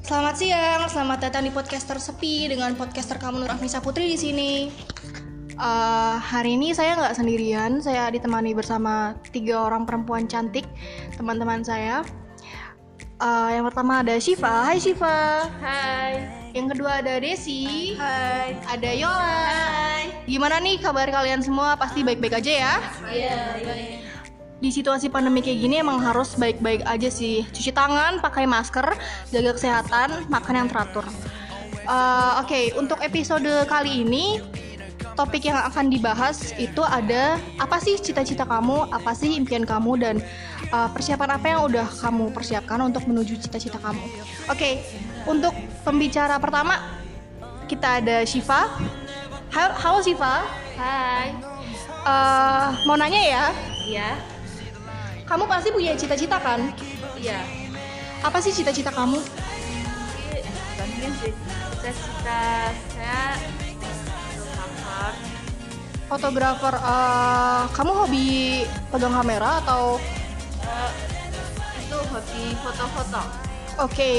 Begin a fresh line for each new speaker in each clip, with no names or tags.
Selamat siang, selamat datang di podcast tersepi dengan podcaster kamu Nur Afnisa Putri di sini. Eh, hari ini saya nggak sendirian, saya ditemani bersama tiga orang perempuan cantik teman-teman saya. Eh, yang pertama ada Shiva, Hai Shiva.
Hai.
Yang kedua ada Desi.
Hai.
Ada Yola. Gimana nih kabar kalian semua? Pasti baik-baik aja ya.
Iya,
di situasi pandemi kayak gini emang harus baik-baik aja sih cuci tangan pakai masker jaga kesehatan makan yang teratur Eh, oke untuk episode kali ini topik yang akan dibahas itu ada apa sih cita-cita kamu apa sih impian kamu dan eh, persiapan apa yang udah kamu persiapkan untuk menuju cita-cita kamu oke untuk pembicara pertama kita ada Shiva Ha- halo Shiva
Hai.
Eh, mau nanya ya
Iya.
kamu pasti punya cita-cita kan?
Iya.
Apa sih cita-cita kamu?
Bantuin sih. Cita-cita saya fotografer.
Fotografer, eh, kamu hobi pegang kamera atau
Eh, itu hobi foto-foto.
oke?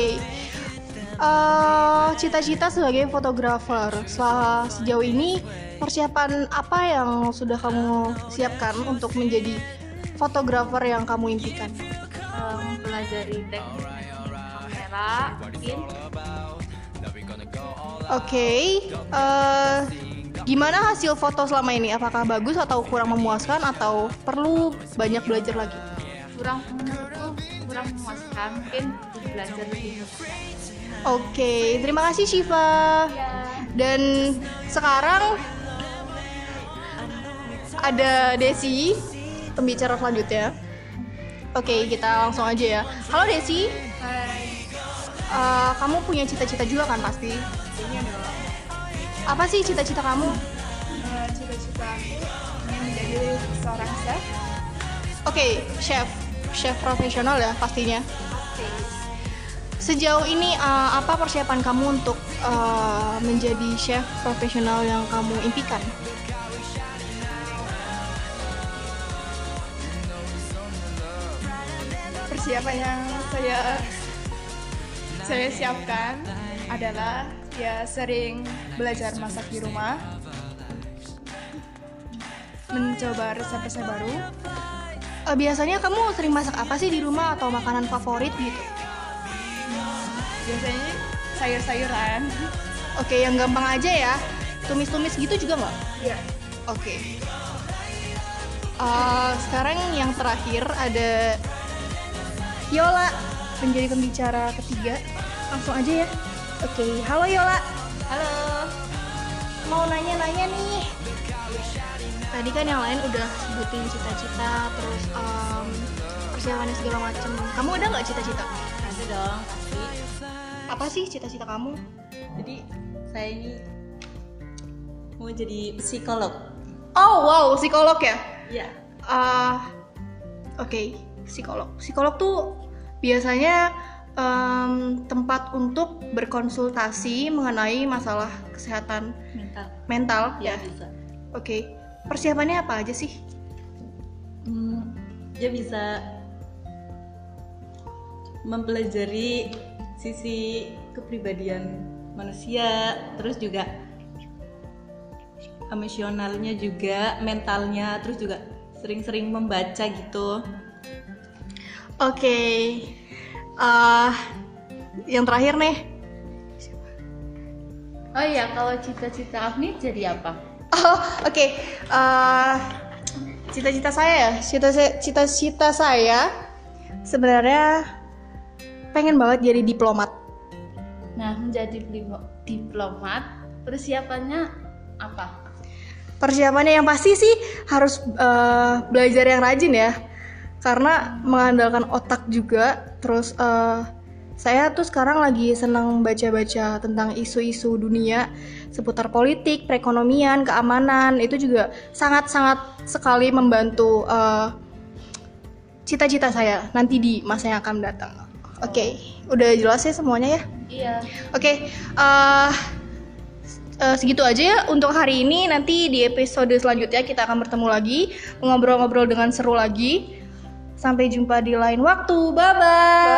eh, cita-cita sebagai fotografer. Setelah sejauh ini persiapan apa yang sudah kamu siapkan untuk menjadi fotografer yang kamu impikan?
Eh, mempelajari teknik kamera, mungkin
Oke, eh, gimana hasil foto selama ini? Apakah bagus atau kurang memuaskan atau perlu banyak belajar lagi?
kurang menurutku kurang memuaskan mungkin butuh belajar lebih
Oke, terima kasih Shiva.
Iya.
Dan sekarang ada Desi, pembicara selanjutnya. Oke, kita langsung aja ya. Halo Desi,
Hai.
eh, kamu punya cita-cita juga kan pasti?
Ini adalah eh,
Apa sih cita-cita kamu?
cita-cita ingin menjadi seorang chef.
Oke, chef, chef profesional ya pastinya.
Iya.
Sejauh ini eh, apa persiapan kamu untuk eh, menjadi chef profesional yang kamu impikan?
persiapan yang saya saya siapkan adalah ya sering belajar masak di rumah mencoba resep-resep baru
Eh, biasanya kamu sering masak apa sih di rumah atau makanan favorit gitu?
biasanya sayur-sayuran
Oke, yang gampang aja ya. Tumis-tumis gitu juga nggak?
Iya.
Oke. Eh, sekarang yang terakhir ada Yola menjadi pembicara ketiga. Langsung aja ya. Oke, halo Yola.
Halo.
Mau nanya-nanya nih. Tadi kan yang lain udah sebutin cita-cita, terus em, persiapannya segala macam. Kamu ada nggak cita-cita?
Ada dong pasti.
Apa sih cita-cita kamu?
Jadi saya ini mau jadi psikolog.
Oh wow, psikolog ya?
Iya.
Ah, Oke, psikolog. Psikolog tuh biasanya em, tempat untuk berkonsultasi mengenai masalah kesehatan
Mental.
mental
Ya
ya.
bisa.
Oke, persiapannya apa aja sih?
Hmm, dia bisa mempelajari sisi kepribadian manusia, terus juga emosionalnya juga, mentalnya, terus juga sering-sering membaca gitu.
Oke, ah, yang terakhir nih.
Oh iya, kalau cita-cita Afni jadi apa?
Oh, oke. Eh, cita-cita saya ya, cita- cita-cita saya sebenarnya pengen banget jadi diplomat.
Nah, menjadi diplo- diplomat, persiapannya apa?
persiapannya yang pasti sih harus eh, belajar yang rajin ya karena mengandalkan otak juga terus eh, saya tuh sekarang lagi senang baca-baca tentang isu-isu dunia seputar politik, perekonomian, keamanan itu juga sangat-sangat sekali membantu eh, cita-cita saya nanti di masa yang akan datang. Oke, udah jelas ya semuanya ya?
Iya.
Oke, eh, eh, segitu aja ya untuk hari ini. Nanti di episode selanjutnya kita akan bertemu lagi, ngobrol-ngobrol dengan seru lagi. Sampai jumpa di lain waktu. Bye-bye.